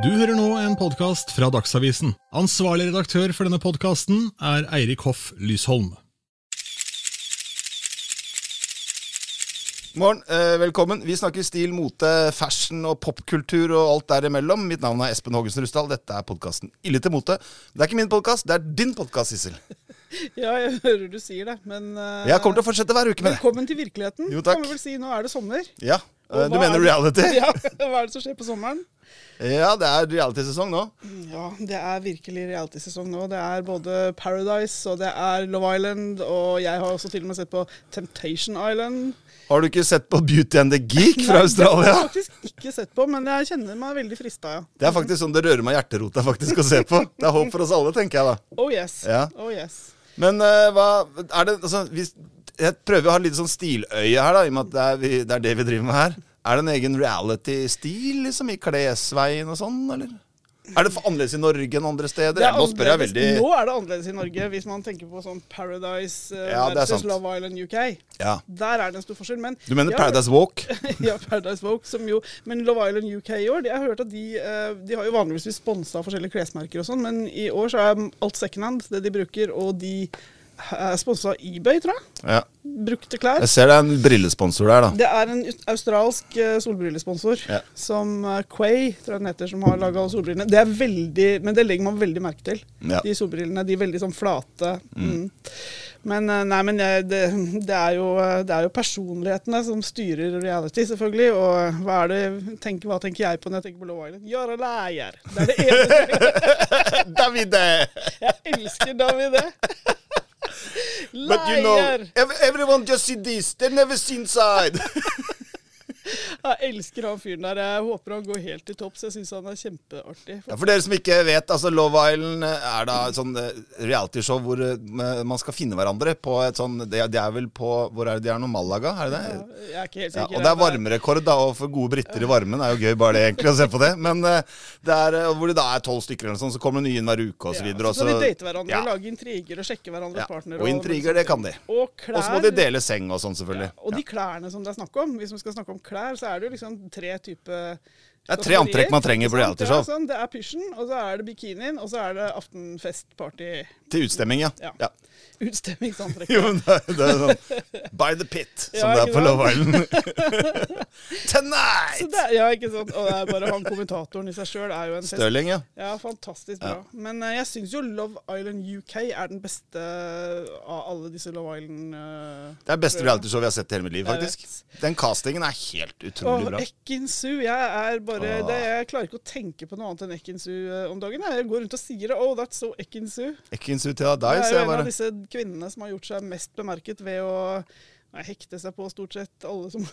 Du hører nå en podkast fra Dagsavisen. Ansvarlig redaktør for denne podkasten er Eirik Hoff Lysholm. Morgen, eh, velkommen. Vi snakker stil, mote, fashion og popkultur og alt derimellom. Mitt navn er Espen Hågensen Rustdal. Dette er podkasten Ille til mote. Det er ikke min podkast, det er din podkast, Sissel. Ja, jeg hører du sier det, men eh, Jeg kommer til å fortsette hver uke med det. Velkommen til virkeligheten. Jo, takk. Kan vi vel si, nå er det sommer. Ja, eh, Og Du hva mener er- reality? Ja, Hva er det som skjer på sommeren? Ja, det er realitysesong nå. Ja, Det er virkelig realitysesong nå. Det er både Paradise og det er Love Island. Og jeg har også til og med sett på Temptation Island. Har du ikke sett på Beauty and the Geek fra Jeg Australia? har faktisk ikke sett på, men jeg kjenner meg veldig frista, ja. Det er faktisk sånn det rører meg i hjerterota faktisk å se på. Det er håp for oss alle, tenker jeg da. Oh yes. Ja. Oh yes. Men eh, hva er det altså, vi, Jeg prøver å ha litt sånn stiløye her, da, i og med at det er, vi, det er det vi driver med her. Er det en egen reality-stil liksom, i klesveien og sånn, eller? Er det for annerledes i Norge enn andre steder? nå spør jeg annerledes- veldig Nå er det annerledes i Norge, hvis man tenker på sånn Paradise eh, Ja, det er versus sant. Love Island UK. ja. Der er det en stor forskjell. Men Du mener jeg har- Paradise Walk? ja, Paradise Vogue, som jo Men Love Island UK i år, de, jeg har hørt at de, eh, de har jo vanligvis blitt sponsa av forskjellige klesmerker og sånn, men i år så er alt secondhand, det de bruker, og de er sponsa av eBay, tror jeg. Ja. Brukte klær. Jeg ser det er en brillesponsor der, da. Det er en ut- australsk eh, solbrillesponsor Ja. som eh, Quay, tror jeg den heter, som har laga solbrillene. Det er veldig, men det legger man veldig merke til. Ja. De solbrillene. De er veldig sånn flate. Mm. Men eh, nei, men jeg- det, det, er jo, eh, det er jo personlighetene som styrer reality, selvfølgelig. Og eh, hva, er det, tenk, hva tenker jeg på når jeg tenker på Love Island? Gjøre leier. Det er det eneste Davide! jeg elsker, David. det. But you know, Leier. ev- everyone just see this. They never see inside. Jeg elsker han fyren der. Jeg håper han går helt til topps. Jeg syns han er kjempeartig. Ja, for dere som ikke vet, altså Love Island er da et sånn eh, realityshow hvor eh, man skal finne hverandre på et sånn Det det er vel på Hvor er det de er nå? Malaga, er det det? Jeg er ikke helt Ja, sikker. og det er varmerekord, da, og for gode briter i varmen er jo gøy bare det, egentlig, å se på det. Men eh, det er eh, hvor det da er tolv stykker eller noe sånt, så kommer det nye inn hver uke, og så videre. Ja, så kan og de date hverandre, ja, lage intriger og sjekke hverandres ja. partnere. Og intriger, det kan de. Og klær. Og så må de dele seng og sånn, selvfølgelig. Og de klærne som det er snakk om. Hvis man skal snakke om klær, så er det jo liksom tre type Det er tre antrekk man altså. trenger på Ikke sant? Det er realityshow. Sånn, det er pysjen, og så er det bikinien, og så er det aftenfestparty-utstemming. Til utstemming, ja. Ja. ja. Utstemmingsansrekk. Jo, men det er, det er sånn By the pit, som det er Ja, ikke på sant? Love Island. Så Tonight! det, er- ja, ikke sant. Og det er bare han kommentatoren i seg sjøl er jo en fest. Stirling, ja. Ja, fantastisk bra. Men eh, jeg syns jo Love Island UK er den beste av alle disse Love Island eh, Det er det beste realityshowet jeg har sett i hele mitt liv, Jeg faktisk. Den castingen er helt utrolig Åh, bra. Ekinsu. Jeg er bare Åh. det, Jeg klarer ikke å tenke på noe annet enn Ekinsu eh, om dagen. Jeg går rundt og sier det. Oh, that's so Ekinsu. Ekins ut til Det deg, er ser jo jeg en av bare. disse kvinnene som har gjort seg mest bemerket ved å nei, hekte seg på stort sett alle som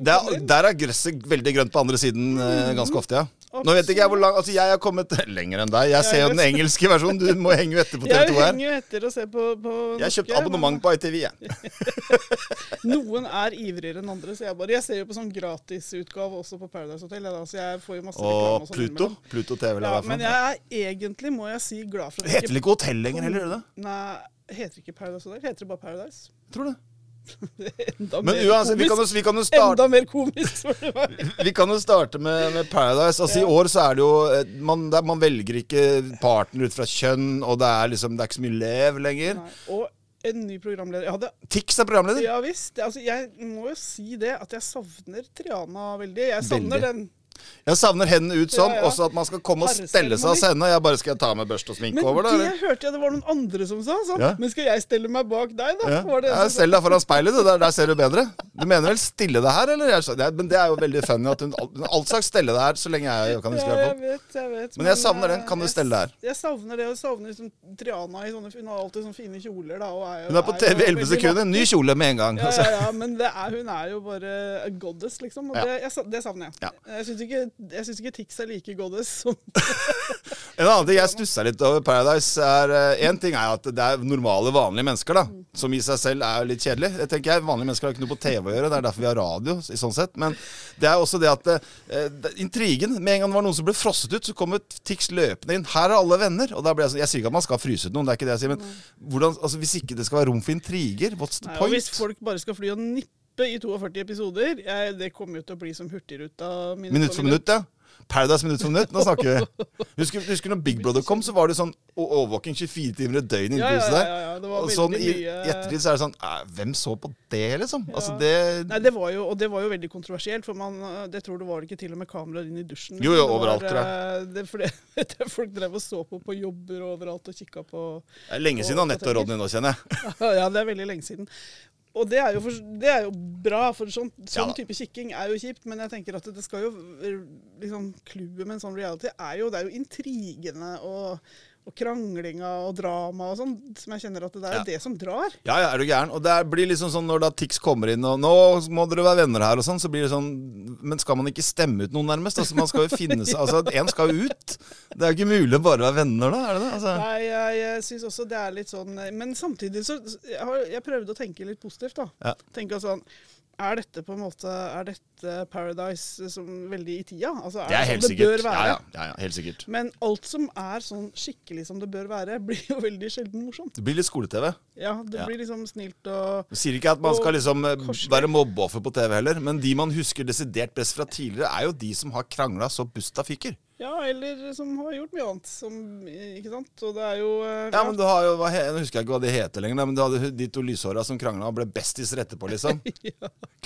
Det er, der er gresset veldig grønt på andre siden Mm, eh, ganske ofte, ja. Nå vet ikke jeg hvor lang Altså, jeg har kommet lenger enn deg. Jeg ser jo den engelske versjonen. Du må henge jo etter på Jeg TV2 her. henger jo etter og ser på, på Jeg har kjøpt norske, abonnement på ITV, jeg. men Noen er ivrigere enn andre, så jeg bare Jeg ser jo på sånn gratisutgave også på Paradise Hotel, jeg da, så jeg får jo masse reklame. Og og sånn Pluto. innimellom. Pluto TV, eller Ja, hva det men er for noe. jeg er egentlig, må jeg si, glad for at Det heter vel ikke hotell lenger heller, gjør det det? Nei, heter ikke Paradise Hotel? Heter det bare Paradise? Tror det. Enda Men mer uansett, vi komisk. kan jo, vi kan jo starte Enda mer komisk, spør du meg. Vi kan jo starte med, med Paradise. Altså I år så er det jo eh, man, det er, man velger ikke partner ut fra kjønn, og det er liksom Det er ikke så mye lev lenger. Nei, Og en ny programleder. Jeg hadde Tix er programleder. ja visst. Altså, jeg må jo si det at jeg savner Triana veldig. Jeg savner Veldig. den. Jeg savner hendene ut sånn, Ja, ja. også at man skal komme og stelle Herreseremoni. seg og sende. Jeg bare skal jeg ta med børste og sminke Men over, da? det eller? hørte jeg det var noen andre som sa. Sånn. Ja. Men skal jeg stelle meg bak deg, da? Ja. Var det en Ja, som sa. Stell deg foran speilet, du. Der, der ser du bedre. Du mener vel stille deg her, eller? Jeg sa- det er- Men det er jo veldig funny at hun hun all slags stelle deg her, så lenge jeg kan huske. i Ja, hvert jeg fall. vet, jeg vet. Men jeg savner den. Kan du eh, stelle deg her? Jeg, jeg savner det. Og savner liksom Triana i sånne Hun har alltid sånne fine kjoler, da. Og er, jo- Hun er på jo TV i 11 veldig sekunder. Ny vakker. kjole med en gang. Ja, altså. ja, ja, men det er, hun er jo bare a goddess, liksom. Og Ja. det, jeg, sa- det savner jeg. Ja. Jeg syns ikke, jeg synes ikke Tix er like goddess som En annen ting jeg stusser litt over Paradise, er én ting er at det er normale, vanlige mennesker, da. Som i seg selv er jo litt kjedelig. Det tenker jeg, Vanlige mennesker har ikke noe på TV å gjøre, det er derfor vi har radio. i sånn sett. Men det er også det at eh, det- intrigen Med en gang det var noen som ble frosset ut, så kom et Tix løpende inn. Her er alle venner. Og da ble jeg sånn Jeg sier ikke at man skal fryse ut noen, det er ikke det jeg sier. Men hvordan, altså, hvis ikke det skal være rom for intriger, what's the Nei, og Hvis point? folk bare skal fly og nippe i 42 episoder jeg, Det kommer jo til å bli som Hurtigruta. Minutt for minutt, ja. Paradise minutt for minutt. Nå snakker vi. Husker, husker når Big Brother kom, så var det sånn o- overvåking 24 timer i døgnet Ja, inne på ja, huset ja, ja, ja. Det der. var Og sånn i, veldig i mye- ettertid så er det sånn eh, Hvem så på det, liksom? Altså Ja. det Nei, det var jo, og det var jo veldig kontroversielt, for man, eh, det tror du var det ikke til og med kameraer inn i dusjen. Jo, jo, Det var, overalt, tror eh, Det, for det, det folk drev og så på på jobber og overalt og kikka på Det er lenge siden Anette og Ronny nå, kjenner jeg. Ja, det er veldig lenge siden. Og det er jo, for, det er jo bra, for sånn, Ja da. sånn type kikking er jo kjipt. Men jeg tenker at det skal jo eh, liksom, Clouet med en sånn reality er jo, det er jo intrigene og, og kranglinga og drama og sånn, som jeg kjenner at det er Ja. det som drar. Ja, ja, er du gæren? Og det er- blir liksom sånn når da Tix kommer inn og 'Nå må dere være venner her', og sånn, så blir det sånn Men skal man ikke stemme ut noen, nærmest? Altså, man skal jo finne seg Altså, én skal jo ut. Det er jo ikke mulig å bare være venner, da? Er det det? Altså, Nei, jeg, jeg syns også det er litt sånn Men samtidig så jeg, har, jeg prøvde å tenke litt positivt, da. Ja. Tenke sånn er dette på en måte, er dette Paradise som veldig i tida? Altså, er det er det helt som det sikkert. bør Ja, være? ja, ja, ja, helt sikkert. Men alt som er sånn skikkelig som det bør være, blir jo veldig sjelden morsomt. Det blir litt skole-TV. Ja, Det Ja. blir liksom snilt og Jeg sier ikke at man skal liksom eh, Korsvei. være mobbeoffer på TV heller, men de man husker desidert best fra tidligere, er jo de som har krangla så busta fyker. Ja, eller som har gjort mye annet. Som, ikke sant? Og det er jo eh, Ja, men du har jo, hva he, Nå husker jeg ikke hva de heter lenger, da, men du hadde hu- de to lyshåra som krangla og ble bestiser etterpå, liksom.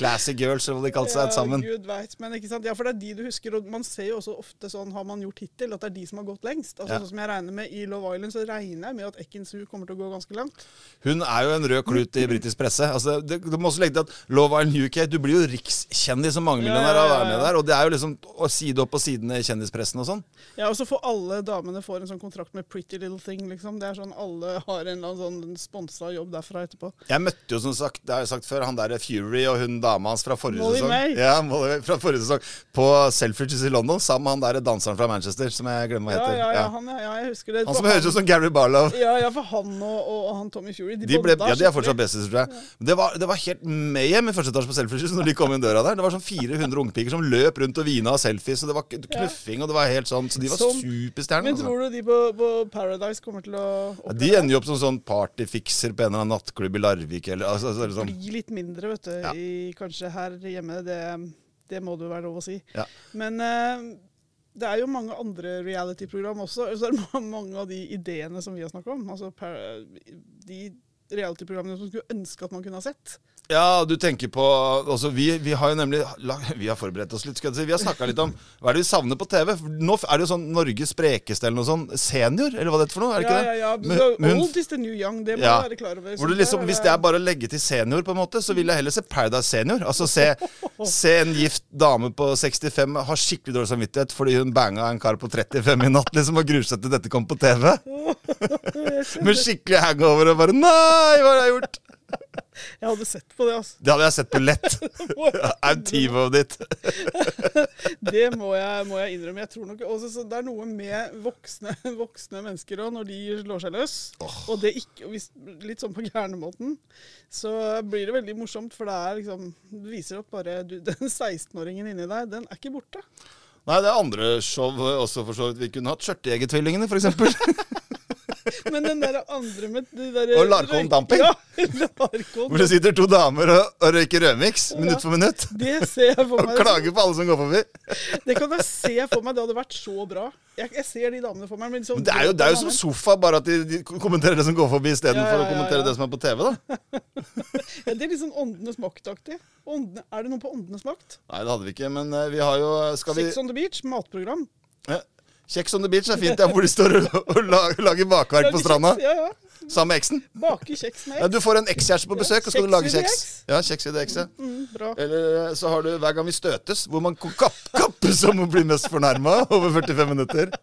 Classy girls, eller hva de kalte seg ja, alt sammen. Gud vet, men ikke sant? Ja, for det er de du husker, og man ser jo også ofte sånn, har man gjort hittil, at det er de som har gått lengst. Altså Ja. Sånn som jeg regner med i Love Island, så regner jeg med at Ekin Su kommer til å gå ganske langt. Hun er jo en rød klut i britisk presse. Altså, det, du må også legge til at Love Island UK Du blir jo rikskjendis som mangemillionær av å være med der, og det er jo liksom å- side opp og side ned i kjendispressen og sånn. Ja, og så får alle damene får en sånn kontrakt med Pretty Little Thing, liksom. Det er sånn alle har en eller annen sånn sponsa jobb derfra etterpå. Jeg møtte jo som sagt, det har jeg sagt før, han der Fury og hun dama hans fra forrige Molly sesong. May. Ja, Molly May fra forrige sesong På Selfridges i London sammen med han der danseren fra Manchester som jeg glemmer hva Ja, heter. ja, ja, Ja. han, ja, ja, jeg husker det. Han som For høres ut som Gary Barlow. Ja, ja, for han og, og, og han Tommy Fury, de, De, ble, bonda ja, de er skikkelig. fortsatt bestis, tror jeg. Men Det var, det var helt mayhem i første etasje på Selfridges når de kom inn døra der. Det var sånn 400 ungpiker som løp rundt og vina og selfies, og det var k- knuffing, og det var helt sånn Så de var Som- superstjerner. Men Altså. tror du de på, på Paradise kommer til å Ja, oppleve de ender jo opp som sånn partyfikser på en eller annen nattklubb i Larvik eller altså, altså, det? sånn. Bli litt mindre, vet du, Ja. i, kanskje her hjemme. Det, det må det jo være lov å si. Ja. Men eh, det er jo mange andre reality-program også. Og så er det ma- mange av de ideene som vi har snakka om. Altså par, de reality-programmene som skulle ønske at man kunne ha sett. Ja, du tenker på altså, vi, vi har jo nemlig la- Vi har forberedt oss litt. Skal jeg si. Vi har snakka litt om hva er det vi savner på TV. For Nå f- er det jo sånn Norges sprekeste eller noe sånn Senior, eller hva det heter for noe? Er det ja, ikke det? ja, ja. Men- Så, men hun- old is the new young, det må Ja. du være klar over. Hvor Så du liksom, der hvis det er bare å legge til senior, på en måte, så vil jeg heller se Paradise Senior. Altså se, se en gift dame på 65 ha skikkelig dårlig samvittighet fordi hun banga en kar på 35 i natt liksom og gruer seg til dette kom på TV. Med skikkelig hangover og bare Nei, hva har jeg gjort? Jeg hadde sett på det, altså. Det hadde jeg sett på lett. I'm team of it. Det må jeg, må jeg innrømme. Jeg tror nok, også, så det er noe med voksne, voksne mennesker òg, når de slår seg løs. Og det ikke, og hvis, litt sånn på gærnemåten. Så blir det veldig morsomt, for det er liksom, det viser at bare du, den 16-åringen inni deg, den er ikke borte. Nei, det er andre show også, for så vidt. Vi kunne hatt Skjørtejegertvillingene, f.eks. Men den der andre med de der, Og Larkollen Damping. Ja, Larkollen. Hvor det sitter to damer og, og røyker rødmiks minutt for minutt. Det ser jeg for Og meg. klager på alle som går forbi. Det kan jeg se for meg. Det hadde vært så bra. Jeg, jeg ser de damene for meg. Men liksom, Men det er jo, det er jo som sofa, bare at de, de kommenterer det som går forbi, Ja, istedenfor å ja, ja, kommentere ja. det som er på TV. da Ja, det er litt sånn Åndenes makt-aktig. Åndene, er det noe på Åndenes makt? Nei, det hadde vi ikke, men eh, vi har jo skal vi, Sex on the beach, matprogram. Ja. Kjeks on the beach er fint, ja, hvor de står og, og lager, lager bakverk på Lager stranda kjeks, Ja, ja. sammen med eksen. Bake kjeks med Ja, egg. du får en ekskjæreste på besøk, og skal du kjeks lage i det kjeks. eks. Ja, kjeks i det ekset. Mm, bra. Eller eh, så har du Hver gang vi støtes, hvor man kan kapp, kappes om å bli mest fornærma over 45 minutter.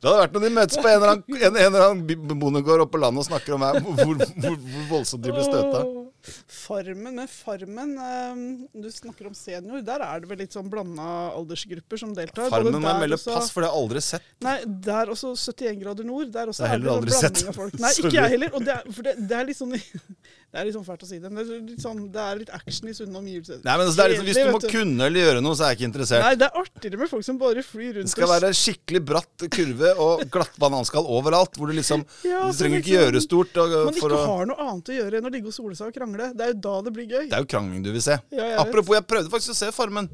Det hadde vært når de møtes på en eller annen, en, en eller annen bi- bondegård oppe på landet og snakker om her, hvor, hvor, hvor, hvor voldsomt de ble støta. Åh. Farmen, men Farmen ehm, Du snakker om senior. Der er det vel litt sånn blanda aldersgrupper som deltar. både Farmen må jeg der altså. melde og så- pass, for det har jeg aldri sett. Nei, der også 71 grader nord. Der også Det har er heller det en aldri blanding sett. av folk. Nei, ikke Sorry. jeg heller. Og det er, for det, det er litt sånn Det er litt sånn fælt å si det, men det er litt, sånn, det er litt action i sunne omgivelser. Nei, men altså, det er liksom, Hvis Kjedelig, du må vet kunne eller gjøre noe, så er jeg ikke interessert. Nei, det er artigere med folk som bare flyr rundt Det skal og være skikkelig bratt kurve og glatt bananskall overalt. Hvor du liksom Ja, Du så trenger ikke liksom- gjøre stort. Og, Eh, Man for ikke å, har noe annet å gjøre enn å ligge og sole seg og krangle. Det er jo da det blir gøy. det er jo krangling du vil se. Ja, jeg vet. Apropos, jeg prøvde faktisk å se Farmen.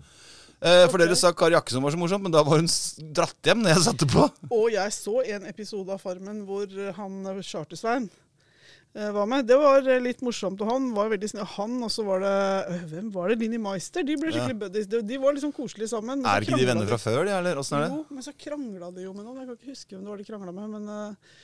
Eh, for dere sa Kari Jakkesson var så morsom, men da var hun s- dratt hjem når jeg satte på. Og jeg så en episode av Farmen hvor eh, han eh, Charter-Svein eh, var med. Det var eh, litt morsomt. Og han var veldig snill. Han, og så var det øh, Hvem var det? Linni Meister? De ble skikkelig buddies. De, de var liksom koselige sammen. men så Er ikke de krangla venner fra før, de, eller? Åssen er det? Jo, men så krangla de jo med noen. Jeg kan ikke huske hvem det var de krangla med. men... eh,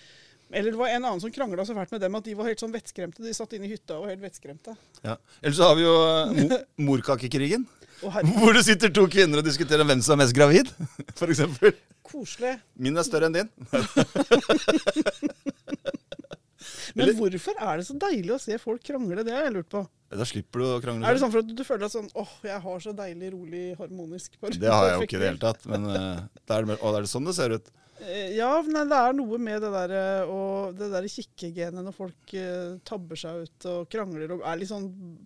eller det var en annen som krangla så fælt med dem at de var helt sånn vettskremte. De satt inne i hytta og var helt vettskremte. Ja. Eller så har vi jo eh, mo morkakekrigen. Å, herregud, Hvor det sitter to kvinner og diskuterer hvem som er mest gravid, for eksempel. koselig. Min er større enn din. Men Eller- hvorfor er det så deilig å se folk krangle? Det har jeg lurt på. Da slipper du å krangle. Er det sånn for at du føler at sånn åh, jeg har så deilig, rolig, harmonisk par- Det har jeg jo perfekt ikke i det hele liv». tatt. Men eh, det er, det- å, det er det sånn det ser ut? Eh, Ja, nei, det er noe med det der, eh, og det derre kikkegenet når folk eh, tabber seg ut og krangler og er litt sånn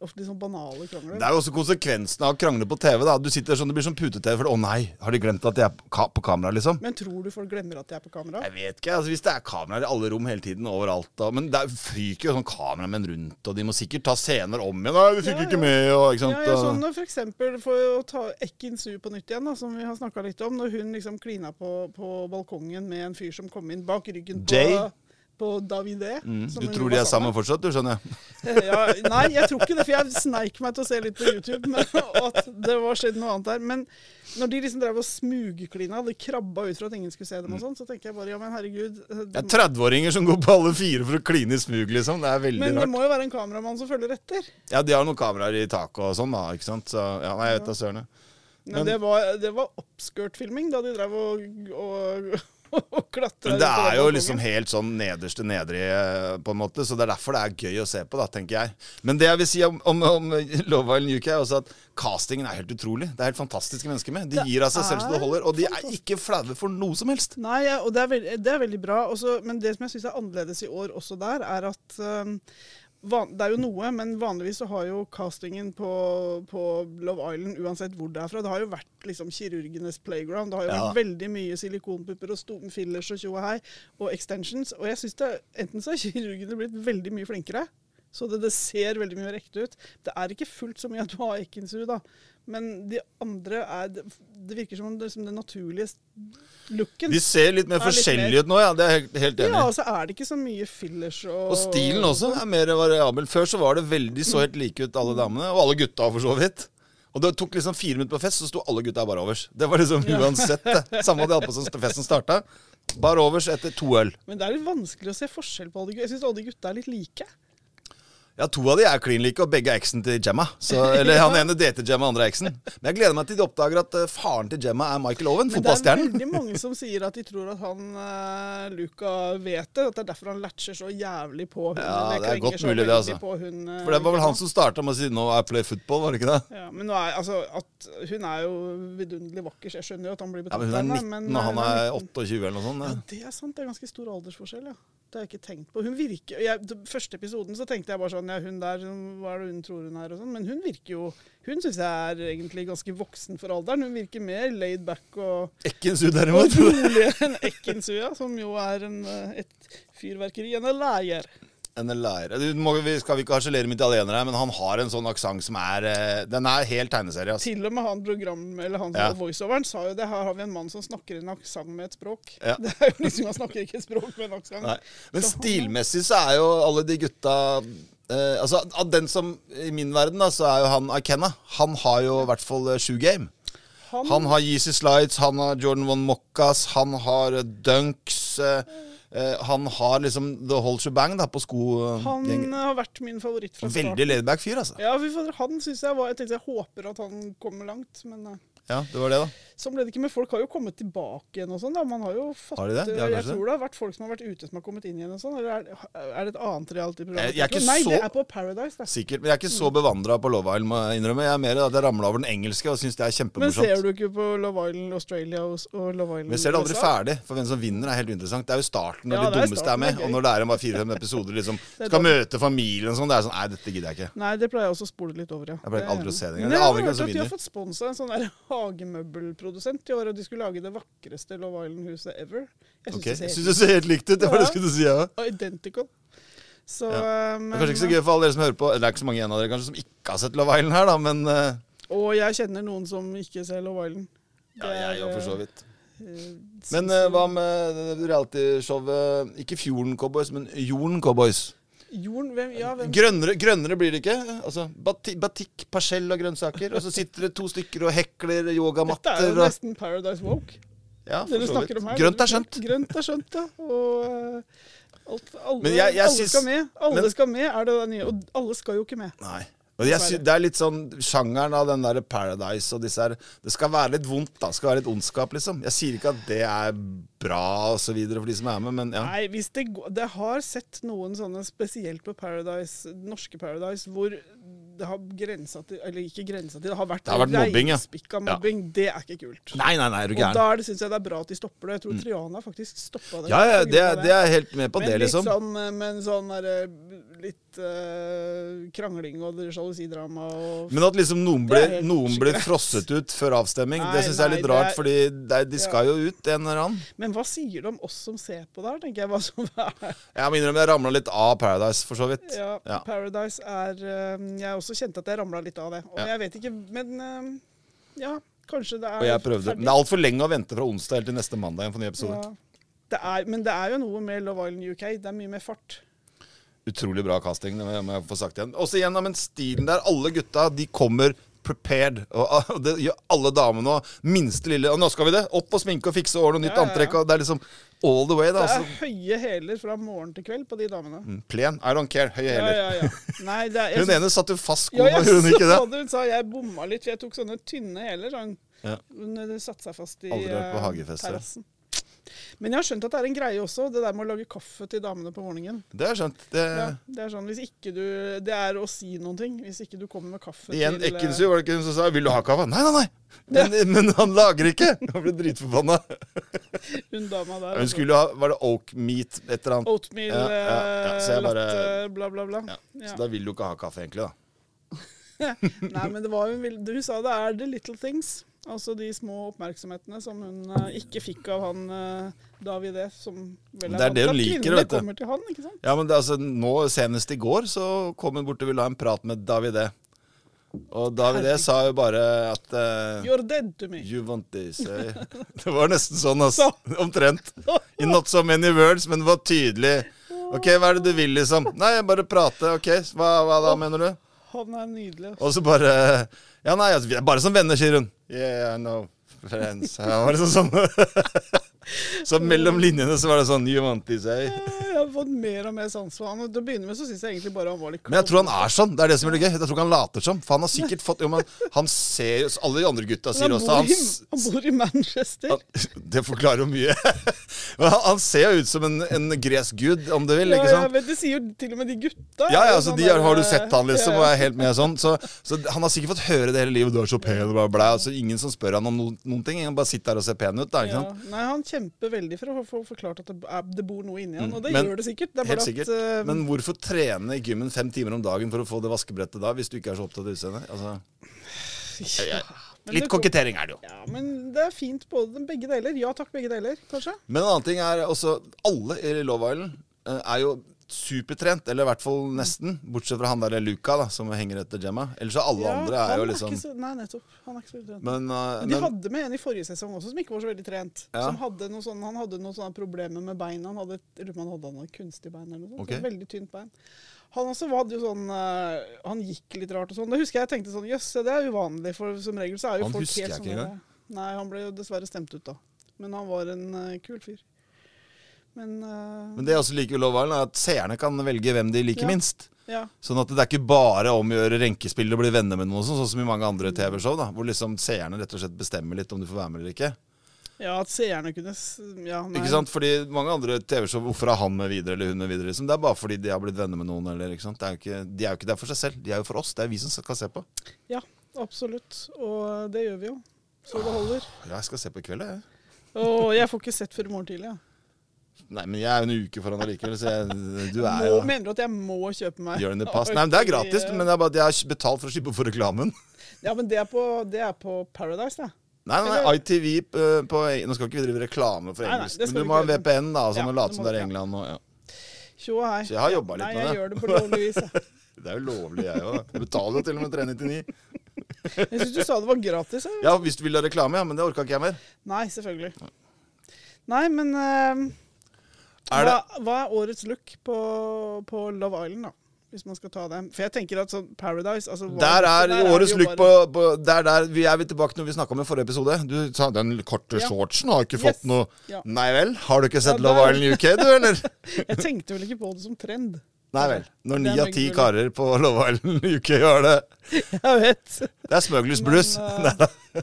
ofte litt sånn banale krangler. Det er jo også konsekvensen av å krangle på TV. da Du sitter sånn, Det blir sånn pute-TV. for Å nei, har de glemt at jeg er på ka- på kamera, liksom? Men tror du folk glemmer at de er på kamera? Jeg vet ikke. altså Hvis det er kameraer i alle rom hele tiden overalt da, Men det er- fyker jo sånn kameramenn rundt, og de må sikkert ta scener om igjen. Nei, vi fikk Ja, ikke ja. med, og ikke sant. Ja, jeg og- sånn for eksempel for å ta Ekin Su på nytt igjen, da, som vi har snakka litt om. Når hun liksom klina på, på balkongen med en fyr som kom inn bak ryggen på, Jay? på Davide. Mm, som du hun tror var de er sammen fortsatt, du skjønner? jeg. Eh, ja, nei, jeg tror ikke det, for jeg sneik meg til å se litt på YouTube men, og at det var skjedd noe annet der. Men når de liksom drev og smugklina, de krabba ut for at ingen skulle se Mm. dem og sånn, så tenker jeg bare ja, men herregud. eh, Det er 30-åringer som går på alle fire for å kline i smug, liksom. Det er veldig Men det rart. må jo være en kameramann som følger etter. Ja, de har noen kameraer i taket og sånn, da. ikke sant? Så, ja, nei, jeg vet da søren. jeg. Men, det var, det var oppskørt-filming da de drev og, og, og klatra. Men det er jo liksom helt sånn nederste nedre, eh, på en måte, så det er derfor det er gøy å se på, da, tenker jeg. Men det jeg vil si om, om, om Love Island UK, er også at castingen er helt utrolig. Det er helt fantastiske mennesker med. De Det gir av seg selv så det er holder, og de er fantastisk. ikke flaue for noe som helst. Nei, ja, og det er, veld, det er veldig bra. Også, men det som jeg syns er annerledes i år også der, er at øhm, van, Det er jo noe, men vanligvis så har jo castingen på, på Love Island, uansett hvor det er fra, det har jo vært liksom kirurgenes playground. Det har jo Ja. vært veldig mye silikonpupper og sto- fillers og tjo og hei, og extensions. Og jeg syns det enten så har kirurgene blitt veldig mye flinkere, så det, det ser veldig mye mer ekte ut. Det er ikke fullt så mye at du har Ekinsu, da. Men de andre er Det, det virker som om det, som den naturlige looken. De ser litt mer Ja, litt forskjellige mer. ut nå, ja. Det er jeg helt, helt enig i. Ja, og så er det ikke så mye fillers og Og stilen også er mer variabel. Før så var det veldig så helt like ut, alle damene. Og alle gutta, for så vidt. Og det tok liksom fire minutter på fest, så sto alle gutta bare overs. Det var liksom uansett det. Samme hadde jeg hatt på som festen starta. Bar overs etter to øl. Men det er litt vanskelig å se forskjell på alle de gutta. Jeg syns alle de gutta er litt like. Ja, to av de er klin like, og begge er eksen til Gemma. Så, eller han ene dater Gemma, andre er eksen. Men jeg gleder meg til de oppdager at eh, faren til Gemma er Michael Owen, Men det er fotballstjernen. veldig mange som sier at de tror at han eh, Luca vet det. At det er derfor han latcher så jævlig på hun. Ja, det eller er klenger godt så mulig det, veldig altså. på Hun, eh, For det var vel han Luca. som starta med å si 'Nå I play football', var det ikke det? ja, men nå er, altså, at hun er jo vidunderlig vakker, så jeg skjønner jo at han blir Ja, men betalt Hun er for henne, 19, men, og eh, han hun er 19. 28 eller noe sånt. Ja, ja. det er sant. Det er ganske stor aldersforskjell, ja. Det har jeg ikke tenkt på. Hun virker, jeg, d- Første episoden så tenkte jeg bare sånn Ja, hun der, hva er det hun tror hun er, og sånn. Men hun virker jo Hun syns jeg er egentlig ganske voksen for alderen. Hun virker mer laid back og, Ekkensu, derimot. og rolig enn Ekkensuya, som jo er en, eh, et fyrverkeri. En lærer. En lærer. Du må, vi skal vi ikke harselere med italienere, men han har en sånn aksent som er eh, Den er helt tegneserie. Altså. Til og med han program, eller han som Ja. var voiceoveren sa jo det. Her har vi en mann som snakker en aksent med et språk. Ja. Det er jo liksom, Han snakker ikke et språk med en aksent. Nei. Men Så han- stilmessig så er jo alle de gutta eh, Altså, av den som I min verden, da, så er jo han Akenna. Han har jo i hvert fall eh, sju game. Han, Han har Yeezy Slides, han har Jordan Von Mockas, han har eh, Dunks eh, eh, Han har liksom the whole shebang da, på sko... han gjengen. eh, har vært min favoritt fra starten. Veldig laidback fyr, altså. Ja, fy fader, han synes jeg var Jeg tenkte jeg håper at han kommer langt, men eh, Ja, det var det, da. sånn ble det ikke. Men folk har jo kommet tilbake igjen og sånn, da. Man har jo fått eh, Har de det? De har Jeg kanskje det? tror det har vært folk som har vært ute som har kommet inn igjen og sånn. Eller er, er det et annet Jeg- reality-program? jeg er ikke Nei, det så- er på Paradise, det. Sikkert. Men jeg er ikke Mm. så bevandra på Love Island, må jeg innrømme. Jeg er mer at jeg ramla over den engelske og syns det er Men kjempemorsomt. ser du ikke på Love Island Australia og, og Love Island Men jeg ser det aldri USA? ferdig, for hvem som vinner er helt interessant. Det er jo starten når Ja, de det er dummeste er starten, med. det er Og gøy. når det er bare fire-fem episoder, liksom. er Skal dumt. møte familien og sånn. Det er sånn Nei, dette gidder jeg ikke. Nei, det pleier jeg også å spole litt over, ja. Jeg pleier Det er aldri å se det engang. Jeg Men Jeg har aner ikke hvem hørt som at de har vinner. fått sponsa en sånn der hagemøbelprodusent i år, og de skulle lage det vakreste Love Island-huset ever. Jeg syns Ok, Jeg det syns ser det ser helt likt ut. Det var det jeg skulle si, ja. helt identical. Så, Ja. eh, Det men er kanskje ikke så gøy for alle dere som hører på. Det er ikke så mange igjen av dere kanskje som ikke har sett Love Island her, da, men eh, Og jeg kjenner noen som ikke ser Love Island. Ja, jeg òg, for så eh, vidt. vidt. Men eh, hva med realityshowet Ikke Fjorden Cowboys, men Jorden Cowboys. Jorden, hvem, ja, hvem Grønnere, grønnere blir det ikke. Altså, bati, batikk, parsell og grønnsaker. Og så sitter det to stykker og hekler Dette er yogamatter. jo og- nesten Paradise Woke. Ja, Det for du så snakker vidt. om her. Grønt er skjønt. Grønt er skjønt, ja. Og eh, alt, alle, Men jeg- jeg alle syns- skal med. Alle men- skal med, er det det nye. Og alle skal jo ikke med. Nei. Og jeg sy det er litt sånn sjangeren av den derre Paradise og disse her Det skal være litt vondt, da. Det skal være litt ondskap, liksom. Jeg sier ikke at det er bra og så videre for de som er med, men ja. Nei, hvis det, går- det har sett noen sånne spesielt på Paradise, norske Paradise, hvor det har grensa til Eller ikke grensa til, det har vært, Det har vært mobbing, ja. reinspikka Ja. mobbing. Det er ikke kult. Nei, nei, nei, er du Og gæren. Mm. da er det- syns jeg det er bra at de stopper det. Jeg tror Triana faktisk stoppa det. Ja, ja, på grunn det, av er- det er helt med på Men det, litt liksom. sånn, eh, men sånn der, eh, litt eh, krangling og sjalusidrama og Men at liksom noen Det er blir, helt noen blir frosset ut før avstemning, Nei, det syns jeg er nei, litt rart, det er- fordi det, er- de skal jo ut, en eller annen. Men hva sier det om oss som ser på der, tenker jeg. Hva som er Jeg må innrømme jeg ramla litt av Paradise, for så vidt. ja, Ja. Paradise er eh, Jeg også kjente at jeg ramla litt av det. Og Ja. jeg vet ikke, men eh, ja, kanskje det er Og jeg prøvde. ferdig. Men det sånn. er altfor lenge å vente fra onsdag helt til neste mandag igjen for ny episode. Ja. Det er, men det er jo noe med Love Island UK. Det er mye mer fart. Utrolig bra casting, det må jeg- må jeg få sagt igjen. Også gjennom den stilen der alle gutta de kommer prepared. Og, ah, og det gjør alle damene òg. Minste lille Og nå skal vi det! Opp og sminke og fikse årene og nytt Ja, ja, ja. antrekk. Og det er liksom all the way. Det da er altså, høye hæler fra morgen til kveld på de damene. mm, Plen. I don't care. Høye hæler. Ja, ja, ja. Nei, det er, jeg Hun ene satt jo fast sko, Ja, jeg gjorde hun ikke det? så det. Hun sa jeg bomma litt, for jeg tok sånne tynne hæler. så Hun, Ja. hun eh, satte seg fast i Aldri vært på eh, hagefest, ja. terrassen. Men jeg har skjønt at det er en greie også, det der med å lage kaffe til damene på morgenen. Det har jeg skjønt. Det, Ja, det er sånn, hvis ikke du, det er å si noen ting. Hvis ikke du kommer med kaffe Igjen til eh, Ekkensrud, var det ikke hun som sa 'vil du ha kaffe'? Nei, nei, nei! Men, men han lager ikke! Han ble dritforbanna. hun dama der. Hun skulle ha Var det oak meat, et eller annet? Oatmeal, Ja, ja, ja, så jeg eh, bare- latte, bla, bla, bla. Ja. Ja. Så da vil du ikke ha kaffe, egentlig, da. Nei, men det var jo en vild- Hun sa det er the little things. Altså de små oppmerksomhetene som hun eh, ikke fikk av han eh, David F., som vel Det er vant det hun til at liker, kvinnene vet du. kommer til han, ikke sant? Ja, men det, er altså, nå Senest i går så kom hun bort og ville ha en prat med Davide. Og Davide Herregud. sa jo bare at eh, You're dead to me. You want this eh. Det var nesten sånn, altså. Så. Omtrent. In not so many words, men det var tydelig. OK, hva er det du vil, liksom? Nei, jeg bare prate. OK, hva, hva da, mener du? Han er nydelig. ass. Og så bare Ja, nei, altså, vi er bare som venner, sier hun. Yeah, I know. Friends. Ja, var det sånn, sånn. så mellom linjene så var det sånn You want this, eh? Jeg har fått mer og mer sans for han. og Til å begynne med så syns jeg egentlig bare han var litt Men jeg tror han er sånn. Det er det som er litt gøy. Jeg tror ikke han later som. For han har sikkert fått jo, men Han ser jo Alle de andre gutta Men sier han, også bor han, i, s- han bor i Manchester. han, Det forklarer jo mye. Men han, han ser jo ut som en, en gresk gud, om du vil. Ja, ikke jeg sant? vet, det sier jo til og med de gutta. Ja, ja, er jo altså, sånn de har, der, har du sett han liksom, ja, og ja. er helt med sånn. Så, så han har sikkert fått høre det hele livet. Du er så pen, og bla, bla. Altså, ingen som spør han om noen, noen ting. Han bare sitter der og ser pen ut, da. ikke Ja. sant? Nei, han kjemper veldig for å få forklart at det, er, det bor noe inni han, og det Mm, Men- gjør det sikkert. Det er Helt bare sikkert. at eh, Men hvorfor trene i gymmen fem timer om dagen for å få det vaskebrettet da, hvis du ikke er så opptatt av utseendet? Altså, ja, men litt det kom- kokettering er det jo. Ja, men det er fint både begge deler. Ja takk, begge deler, kanskje. Men en annen ting er også Alle i Love Island eh, er jo supertrent, eller i hvert fall nesten. Bortsett fra han der Luca, da, som henger etter Gemma. Ellers så alle ja, andre han er jo liksom ikke så, Nei, nettopp. Han er ikke så veldig trent. Men, Men, eh, de men hadde med en i forrige sesong også som ikke var så veldig trent. Ja. Som hadde noe sånn, han hadde noen sånne problemer med beina. Han hadde, jeg lurer på om han hadde noe kunstig bein eller noe sånt. Ok. Et Veldig tynt bein. Han også hadde jo sånn eh, Han gikk litt rart og sånn. Det husker jeg jeg tenkte sånn Jøss, det er uvanlig, for som regel så er jo Han folk husker helt jeg sånn ikke der- Nei, han ble jo dessverre stemt ut, da. Men han var en eh, kul fyr. Men, eh, men det jeg også liker ved Love Island, er at seerne kan velge hvem de liker Ja. minst. ja. Sånn at det er ikke bare om å gjøre renkespill og bli venner med noen, sånn, sånn som i mange andre TV-show, da, hvor liksom seerne rett og slett bestemmer litt om du får være med eller ikke. Ja, at seerne kunne s- ja, nei. Ikke sant? Fordi mange andre TV-show Hvorfor er han med videre eller hun med videre? Liksom? Det er bare fordi de har blitt venner med noen. Eller, ikke sant? Det er jo ikke, de er jo ikke der for seg selv. De er jo for oss. Det er vi som skal se på. Ja, absolutt. Og det gjør vi jo. Så det holder. Ja, jeg skal se på i kveld, jeg. Og jeg får ikke sett før i morgen tidlig. Ja. Nei, men jeg er jo en uke foran allikevel, så jeg, du er Må, jo mener du at jeg må kjøpe meg Gjør den det pass. Nei, men det er gratis, men det er bare at jeg har betalt for å slippe for reklamen. Ja, men det er på, det er på Paradise, det. Nei, nei, nei, ITV på, eh, på Nå skal ikke vi drive reklame for Nei, nei, engelsk, det skal men vi du må ha ikke gjøre. VPN da, og sånn og Ja, det late som må det er vi, ja. England og ja. Tjo og hei. Så jeg har jobbet litt Nei, med jeg det. gjør det på lovlig vis. jeg. Det er jo lovlig, jeg òg. Jeg betaler jo til og med 399. Jeg syns du sa det var gratis. jeg. Ja, hvis du vil ha reklame, ja, men det orka ikke jeg mer. Nei, selvfølgelig. Nei, men eh, Er det, hva, hva er årets look på, på Love Island, da? Hvis man skal ta det. For jeg tenker at sånn Paradise altså, hva- der er det årets jo look på, bare- på Der der vi er vi tilbake når vi snakka om i forrige episode. Du sa den korte Ja. shortsen har ikke Yes. fått noe Ja. Nei vel? Har du ikke sett Ja, Love der. Island UK, du, eller? Jeg tenkte vel ikke på det som trend. Nei vel. Når ni Det er av ti veldig mulig. karer på Love Island UK har det Jeg vet. Det er smugglers blues. Men, Nei, eh,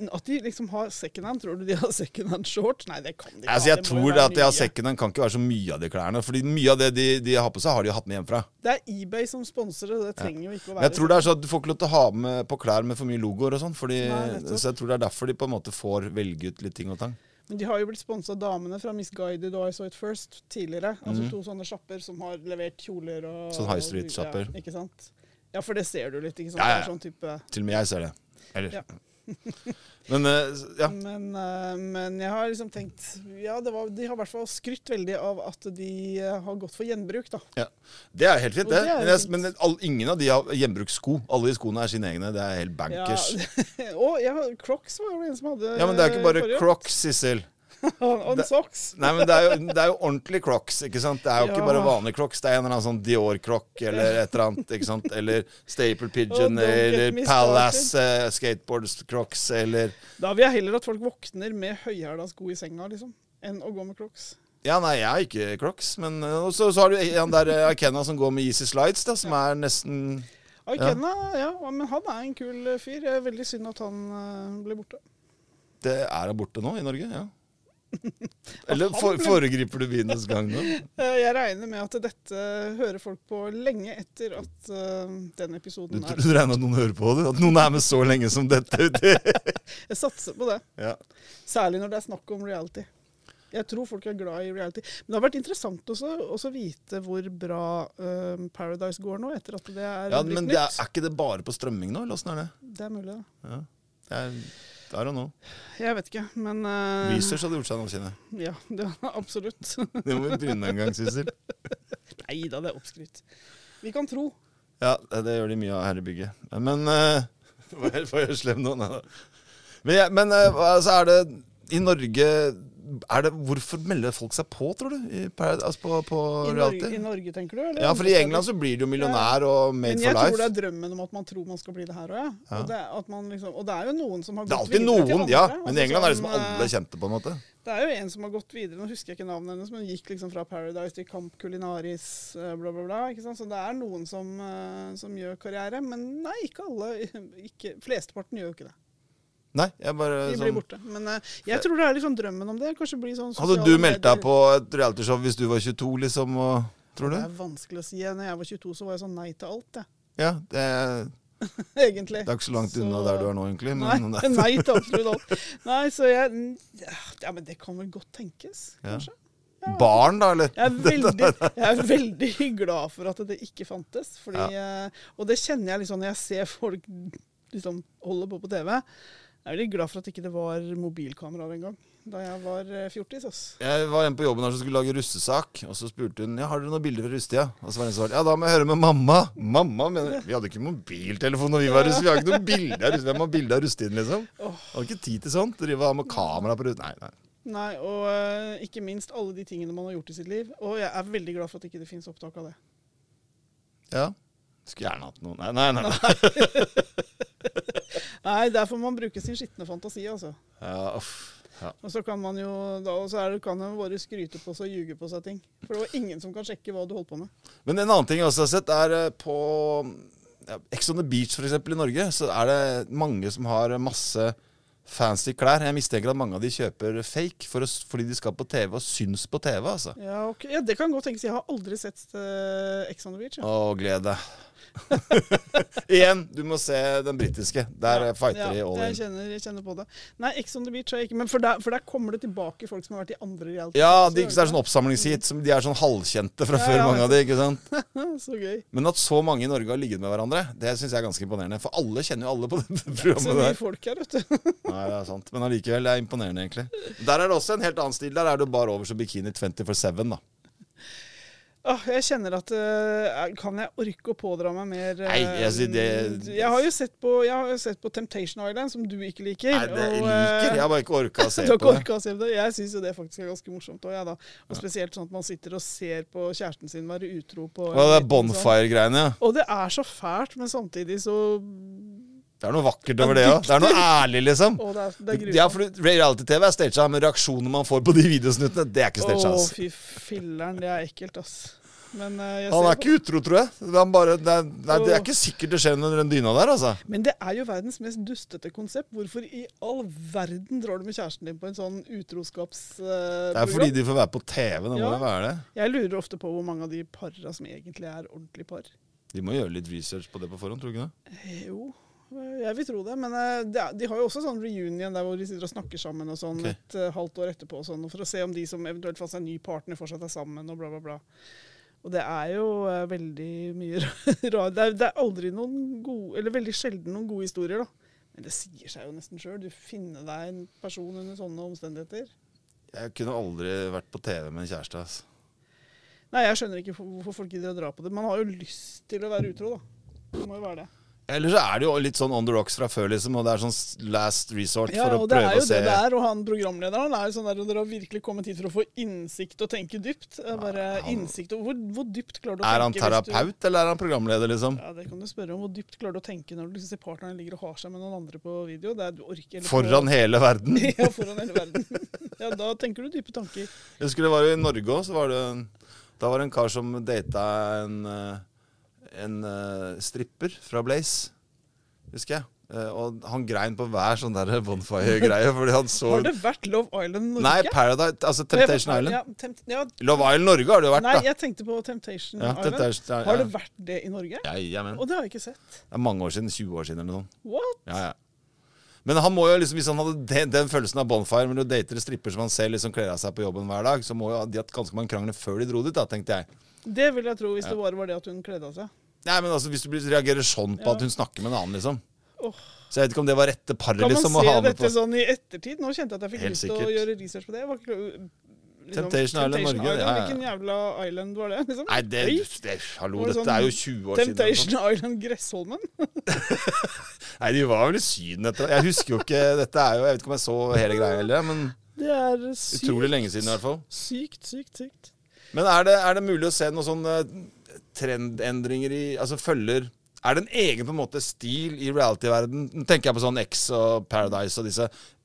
Men at de liksom har secondhand, tror du de har secondhand shorts? Nei, det kan de ikke. altså, ha, jeg det må jo tror være at jeg har nye. secondhand kan ikke være så mye av de klærne. Fordi mye av det de, de har på seg, har de jo hatt med hjemmefra. Det er eBay som sponser det, det trenger jo ikke Men å være jeg tror det er sånn at du får ikke lov til å ha med på klær med for mye logoer og sånn. fordi- Nei, nettopp. Så jeg tror det er derfor de på en måte får velge ut litt ting og tang. Men de har jo blitt sponsa av damene fra Misguided og I Saw It First tidligere. Altså to sånne sjapper som har levert kjoler og Mhm. Sånn high street-sjapper. Ja, ikke sant? Ja, for det ser du litt, ikke sant? Ja, ja, ja. Det er sånn type... Til og med jeg ser det. Eller Ja. Men eh, ja. Men, eh, men jeg har liksom tenkt Ja, det var, de har i hvert fall skrytt veldig av at de eh, har gått for gjenbruk, da. ja. Det er helt fint, Og det det. er Men, jo jeg, men all, ingen av de har gjenbrukssko. Alle de skoene er sine egne. Det er helt bankers. Ja, Ja, og ja, Crocs var jo en som hadde eh, men det er ikke bare forrige. crocs, Sissel. On, on Det- socks. Nei, men det er, jo, det er jo ordentlig crocs, ikke sant? Det er jo ikke Ja. bare vanlige crocs. Det er en eller annen sånn Dior-croc eller et eller annet, ikke sant? Eller Staple Pigeon don't get eller me Palace eh, Skateboards-crocs eller Da vil jeg heller at folk våkner med høyhæla sko i senga, liksom, enn å gå med Crocs. Ja, nei, jeg har ikke crocs, men eh, Og så, så har du en der eh, Akena som går med Easy Slides, da, som er nesten Ah, Ja. Kenna, ja. men han er en kul eh, fyr. Det er Veldig synd at han eh, ble borte. Det er da borte nå i Norge, ja. Eller Han for, ble- foregriper du bienes gang nå? Eh, Jeg regner med at dette hører folk på lenge etter at eh, Du, den episoden er du regner med at noen hører på det? At noen er med så lenge som dette? ute? Jeg satser på det. ja. Særlig når det er snakk om reality. Jeg tror folk er glad i reality. Men det har vært interessant også å vite hvor bra eh, Paradise går nå, etter at det er ja, blitt men nytt. det er, er ikke det bare på strømming nå, eller åssen er det? Det er mulig, da. Ja. Det er, I don't know. Jeg vet ikke, men eh, Research hadde gjort seg noe, kjenner jeg. Ja, det var absolutt. Det må vi begynne en gang, Sissel. Nei da, det er oppskrytt. Vi kan tro. Ja, det gjør de mye av her i bygget. Men eh, Var jeg- var jeg slem nå? Nei da. Men, jeg- men eh, altså, er det I Norge er det, Hvorfor melder folk seg på, tror du? I, Paradise- altså på, på I Norge, I reality? Norge, tenker du? Eller Ja, for i England så blir du jo millionær og made Men for jeg tror det life. er drømmen om at man tror man skal bli det her òg, ja. Ja. Og, det, er at man liksom, og det er jo noen som Det har er gått alltid videre til noen, andre. ja. Men i altså England er det som, liksom alle eh, kjente, på en måte. Det er jo en som har gått videre, nå husker jeg ikke navnet hennes, men hun gikk liksom fra Paradise til Camp Culinaris, eh, bla, bla, bla. ikke sant? Så det er noen som, eh, som gjør karriere, men nei, ikke alle. Ikke, flesteparten gjør jo ikke det. Nei, jeg bare De blir sånn borte. Men eh, jeg tror det er liksom drømmen om det. Kanskje bli sånn Hadde sosiale du meldt medier. deg på et realityshow hvis du var 22, liksom? Og, tror du? Det er vanskelig å si. Når jeg var 22, så var jeg sånn nei til alt, jeg. Ja, det er, Egentlig. det er ikke så langt unna Så- der du er nå, egentlig. Nei, Men, nei til absolutt alt. Nei, så jeg Ja, men det kan vel godt tenkes, Ja. kanskje. Barn, da, eller? Jeg er, veldig, jeg er veldig glad for at det ikke fantes. Fordi, eh, Og det kjenner jeg liksom når jeg ser folk liksom holde på på TV. Jeg er veldig glad for at ikke det var mobilkameraer engang da jeg var eh, fjortis. ass. Jeg var en på jobben her som skulle lage russesak, og så spurte hun ja, har dere noen bilder fra russetida. Og så var det en som svarte ja, da må jeg høre med mamma. Mamma, mener jeg. Vi hadde ikke mobiltelefon når vi var russ. Vi har ikke noe bilde av russ. Hvem har bilde av russetiden, liksom? Hadde ikke tid til sånt. Drive av med kamera på russ... Nei, nei. Nei, Og eh, ikke minst alle de tingene man har gjort i sitt liv. Og jeg er veldig glad for at ikke det finnes opptak av det. Ja. Skulle gjerne hatt noe. Nei, nei, nei. nei. Nei, der får man bruke sin skitne fantasi, altså. Ja, uff. Ja. Og så kan man jo da, og så er det, kan man bare skryte på seg og ljuge på seg ting. For det var ingen som kan sjekke hva du holdt på med. Men en annen ting jeg også har sett, er eh, på ja, Ex on the Beach f.eks. i Norge, så er det mange som har masse fancy klær. Jeg mistenker at mange av de kjøper fake for å, s- fordi de skal på TV og syns på TV. altså. Ja, ok. ja det kan godt tenkes. Jeg har aldri sett eh, Ex on the Beach. Ja. Å, gled deg. Igjen, du må se den britiske. Der eh, fighter de all jeg in. kjenner, jeg kjenner på det. Nei, Ex on the Beach har jeg ikke. Men for der, for der kommer det tilbake folk som har vært i andre reality. Ja, de, det er sånn oppsamlingshit. Som, de er sånn halvkjente fra Ja, før, ja, mange av de. ikke sant? Så gøy. Men at så mange i Norge har ligget med hverandre, det syns jeg er ganske imponerende. For alle kjenner jo alle på dette Så programmet mye der. folk her, vet du. Nei, det er sant. Men allikevel, det er imponerende, egentlig. Der er det også en helt annen stil. Der er det jo bare over som bikini 24-7, da. Åh, Ah, jeg kjenner at eh, Kan jeg orke å pådra meg mer eh, Nei, jeg sier det- jeg, har jo sett på, jeg har jo sett på Temptation Island, som du ikke liker. Nei, det jeg og, eh, liker. Jeg har bare ikke orka å se du har på ikke det. orka å se på det. Jeg syns jo det faktisk er ganske morsomt òg, jeg da. Og spesielt sånn at man sitter og ser på kjæresten sin være utro på Og det en liten er sånn. bonfire-greiene. ja. Og det er så fælt, men samtidig så Det er noe vakkert over det òg. Det er noe ærlig, liksom. Å, det er, det er grusomt. Ja, for Reality-TV er staged, men reaksjonene man får på de videosnuttene, det er ikke staged. Å, ass. fy filleren, det er ekkelt, ass. Men, eh, jeg Han ser er på- ikke utro, tror jeg. Det er, bare, det er, nei, det er ikke sikkert det skjer noe under den dyna der, altså. men det er jo verdens mest dustete konsept. Hvorfor i all verden drar du med kjæresten din på en sånn utroskapsprogram? Det er fordi de får være på TV. Det må Ja. jo være det. Jeg lurer ofte på hvor mange av de para som egentlig er ordentlige par. De må gjøre litt research på det på forhånd, tror du ikke det? Eh, Jo, eh, jeg vil tro det. Men eh, det er, de har jo også sånn reunion der hvor de sitter og snakker sammen og sånn Ok. et eh, halvt år etterpå og sånn, for å se om de som eventuelt fant seg en ny partner, fortsatt er sammen og bla, bla, bla. Og det er jo eh, veldig mye rart. Det, er- det er aldri noen gode, eller veldig sjelden noen gode historier, da. Men det sier seg jo nesten sjøl. Du finner deg en person under sånne omstendigheter. Jeg kunne aldri vært på TV med en kjæreste. Altså. Nei, jeg skjønner ikke hvorfor folk gidder å dra på det. Man har jo lyst til å være utro, da. Det må jo være det. Eller så er det jo litt sånn on the rocks fra før, liksom, og det er sånn s- last resort Ja, for å og det prøve er jo å se det det er. Og han programlederen han er jo sånn der, dere har virkelig kommet hit for å få innsikt og tenke dypt. Det er Bare innsikt og hvor, hvor dypt klarer du å Er han tenke hvis du- terapeut, eller er han programleder, liksom? Ja, det kan du spørre om. Hvor dypt klarer du å tenke når du liksom ser partneren ligger og har seg med noen andre på video? Det er du orker eller- Foran hele verden. Ja, foran hele verden. Ja, da tenker du dype tanker. Jeg husker det var jo i Norge òg, så var det en, Da var det en kar som data en, eh, en eh, stripper fra Blaze, husker jeg. Eh, Og han grein på hver sånn der bonfire-greie, fordi han så Har det vært Love Island Norge? Nei, Paradise, altså Temptation Island. Ja, tempt, ja, Love Island Norge har det jo vært, nei, da. jeg tenkte på Temptation Ja, Island. Temptation Island, Har ja. det vært det i Norge? Ja, ja, men. Og det har jeg ikke sett. Det er mange år siden. 20 år siden eller noe. What? Ja, ja. Men han må jo liksom, hvis han hadde den, den følelsen av bonfire, men du dater en stripper som han selv liksom kler av seg på jobben hver dag, så må jo de ha hatt ganske mange krangler før de dro dit, da, tenkte jeg. Det vil jeg tro hvis det bare var det at hun kledde av seg. Nei, men altså, Hvis du blir- reagerer sånn på Ja. at hun snakker med en annen, liksom. Åh. Så jeg vet ikke om det var rette paret Kan man liksom, å ha se med dette på. sånn i ettertid? Nå kjente jeg at jeg fikk Helt lyst til å sikkert. gjøre research på det. Jeg var ikke, liksom, Temptation Island Norge, ja, ja. Hvilken jævla island var det? Liksom? Nei, det, Oi, det, hallo, Var det dette sånn er jo 20 år siden. Temptation Island Gressholmen? altså. Nei, de var vel i Syden etter Jeg husker jo ikke Dette er jo Jeg vet ikke om jeg så hele greia heller, men Det er sykt, utrolig lenge siden i hvert fall. sykt, sykt. sykt. Men er det, er det mulig å se noen sånne eh, trendendringer i Altså følger Er det en egen på en måte stil i reality-verden? Nå tenker jeg på sånn X og Paradise og disse.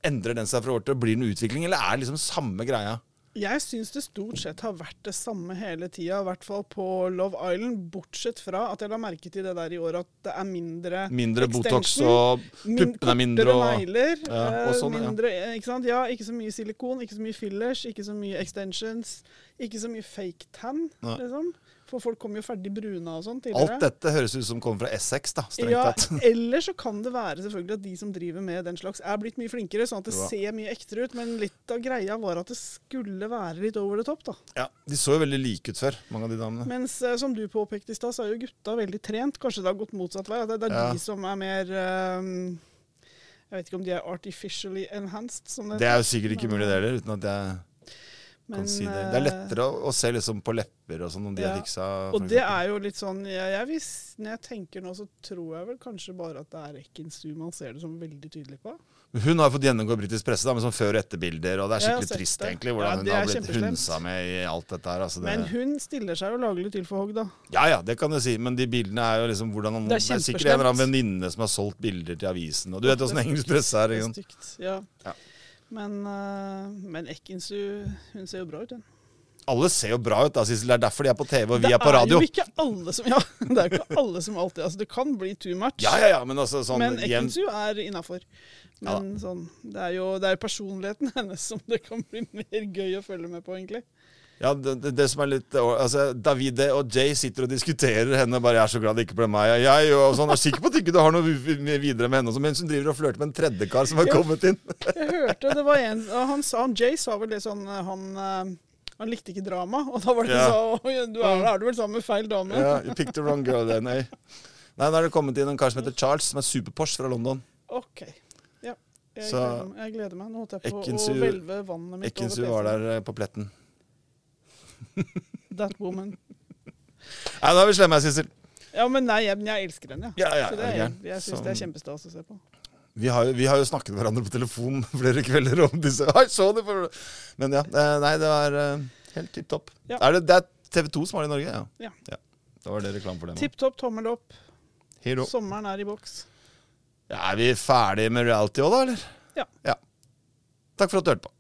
Endrer den seg fra år til år? Blir det noen utvikling, eller er det liksom samme greia? Jeg syns det stort sett har vært det samme hele tida, i hvert fall på Love Island. Bortsett fra at jeg la merke til det der i år at det er mindre Mindre Botox extension. og Min, puppene er mindre kortere og negler. Ja, og eh, sånn, ja. mindre, eh, ikke sant? Ja, ikke så mye silikon, ikke så mye fillers, ikke så mye extensions. Ikke så mye fake tan, Nei. liksom. For folk kom jo ferdig bruna og sånn Alt tidligere. dette høres ut som kommer fra Essex, da, strengt Ja, tatt. eller så kan det være selvfølgelig at de som driver med den slags, er blitt mye flinkere, sånn at det Jo da. ser mye ektere ut. Men litt av greia var at det skulle være litt over the top, da. Ja, De så jo veldig like ut før, mange av de damene. Mens eh, som du påpekte i stad, så er jo gutta veldig trent. Kanskje det har gått motsatt vei. at Det det er Ja. de som er mer eh, Jeg vet ikke om de er artificially enhanced, som det Det er jo sikkert ikke mulig, det heller. uten at jeg kan si Det Det er eh, lettere å, å se liksom på lepper og sånn om de ja. er fiksa. for Og det eksempel. er jo litt sånn jeg, jeg vis, Når jeg tenker nå, så tror jeg vel kanskje bare at det er Ekinsu man ser det som veldig tydelig på. Hun har fått gjennomgå britisk presse da, med sånn før- og etterbilder, og det er Jeg har skikkelig sett trist det. egentlig Ja, hvordan det hun er har blitt kjempeslemt. hunsa med i alt dette her. Altså, det, Men hun stiller seg jo lagelig til for hogg, da. ja, ja, det kan du si, men de bildene er jo liksom hvordan han, Det er det, er sikkert en eller annen kjempeslemt. venninne som har solgt bilder til avisen, og du vet åssen engelsk presse er. Det ikke er sant? stygt. Ja. Ja. Men, eh, men Ekinsu, hun ser jo bra ut, hun. Alle ser jo bra ut, da, Sissel. Det er derfor de er på TV og vi det er på radio. jo ikke alle som Ja, det er jo ikke alle som alltid Altså, det kan bli too much. Ja, ja, ja, men altså sånn men jevnt Ekinsu er innafor. Ja da. Men sånn, det er jo det er jo personligheten hennes som det kan bli mer gøy å følge med på, egentlig. Ja, det, det, det som er litt altså, Davide og Jay sitter og diskuterer henne. Bare 'Jeg er så glad det ikke ble meg'. og Jeg, og sånn, jeg er sikker på at ikke du har noe vi- vi- videre med henne. Også, mens hun driver og flørter med en tredjekar som har Ja. kommet inn. Jeg hørte det var en og han sa, han Jay sa vel det sånn eh, Han, eh, han likte ikke drama, og da var det Ja. sånn «Oi, Du er, er du vel sammen med feil dame? Ja, you picked the wrong girl there, nei. Nei, nå er det kommet inn en kar som heter Charles, som er superpors fra London. OK. Ja. Jeg, Så- gleder meg. jeg gleder meg. Nå holdt jeg på Ekinsu- å hvelve vannet mitt Ekkensu var eh, over PC-en. der eh, på pletten. That woman. Nei, da er vi slemme her, Sissel. Ja, men nei, jeg, men jeg elsker den, jeg. Ja, ja, Sånn. er så det er, du jeg gæren? jeg syns Så- det er kjempestas å se på. Vi har, jo- vi har jo snakket med hverandre på telefon flere kvelder om disse Hei, så du for... Men ja, eh, nei, det var eh, helt tipp topp. Ja. Er det, det er TV2 som har det i Norge? Ja. Ja. Da var det reklame for det. Tipp topp, tommel opp. Hero. Sommeren er i boks. Ja, er vi ferdige med reality òg, da, eller? Ja. Takk for at du hørte på.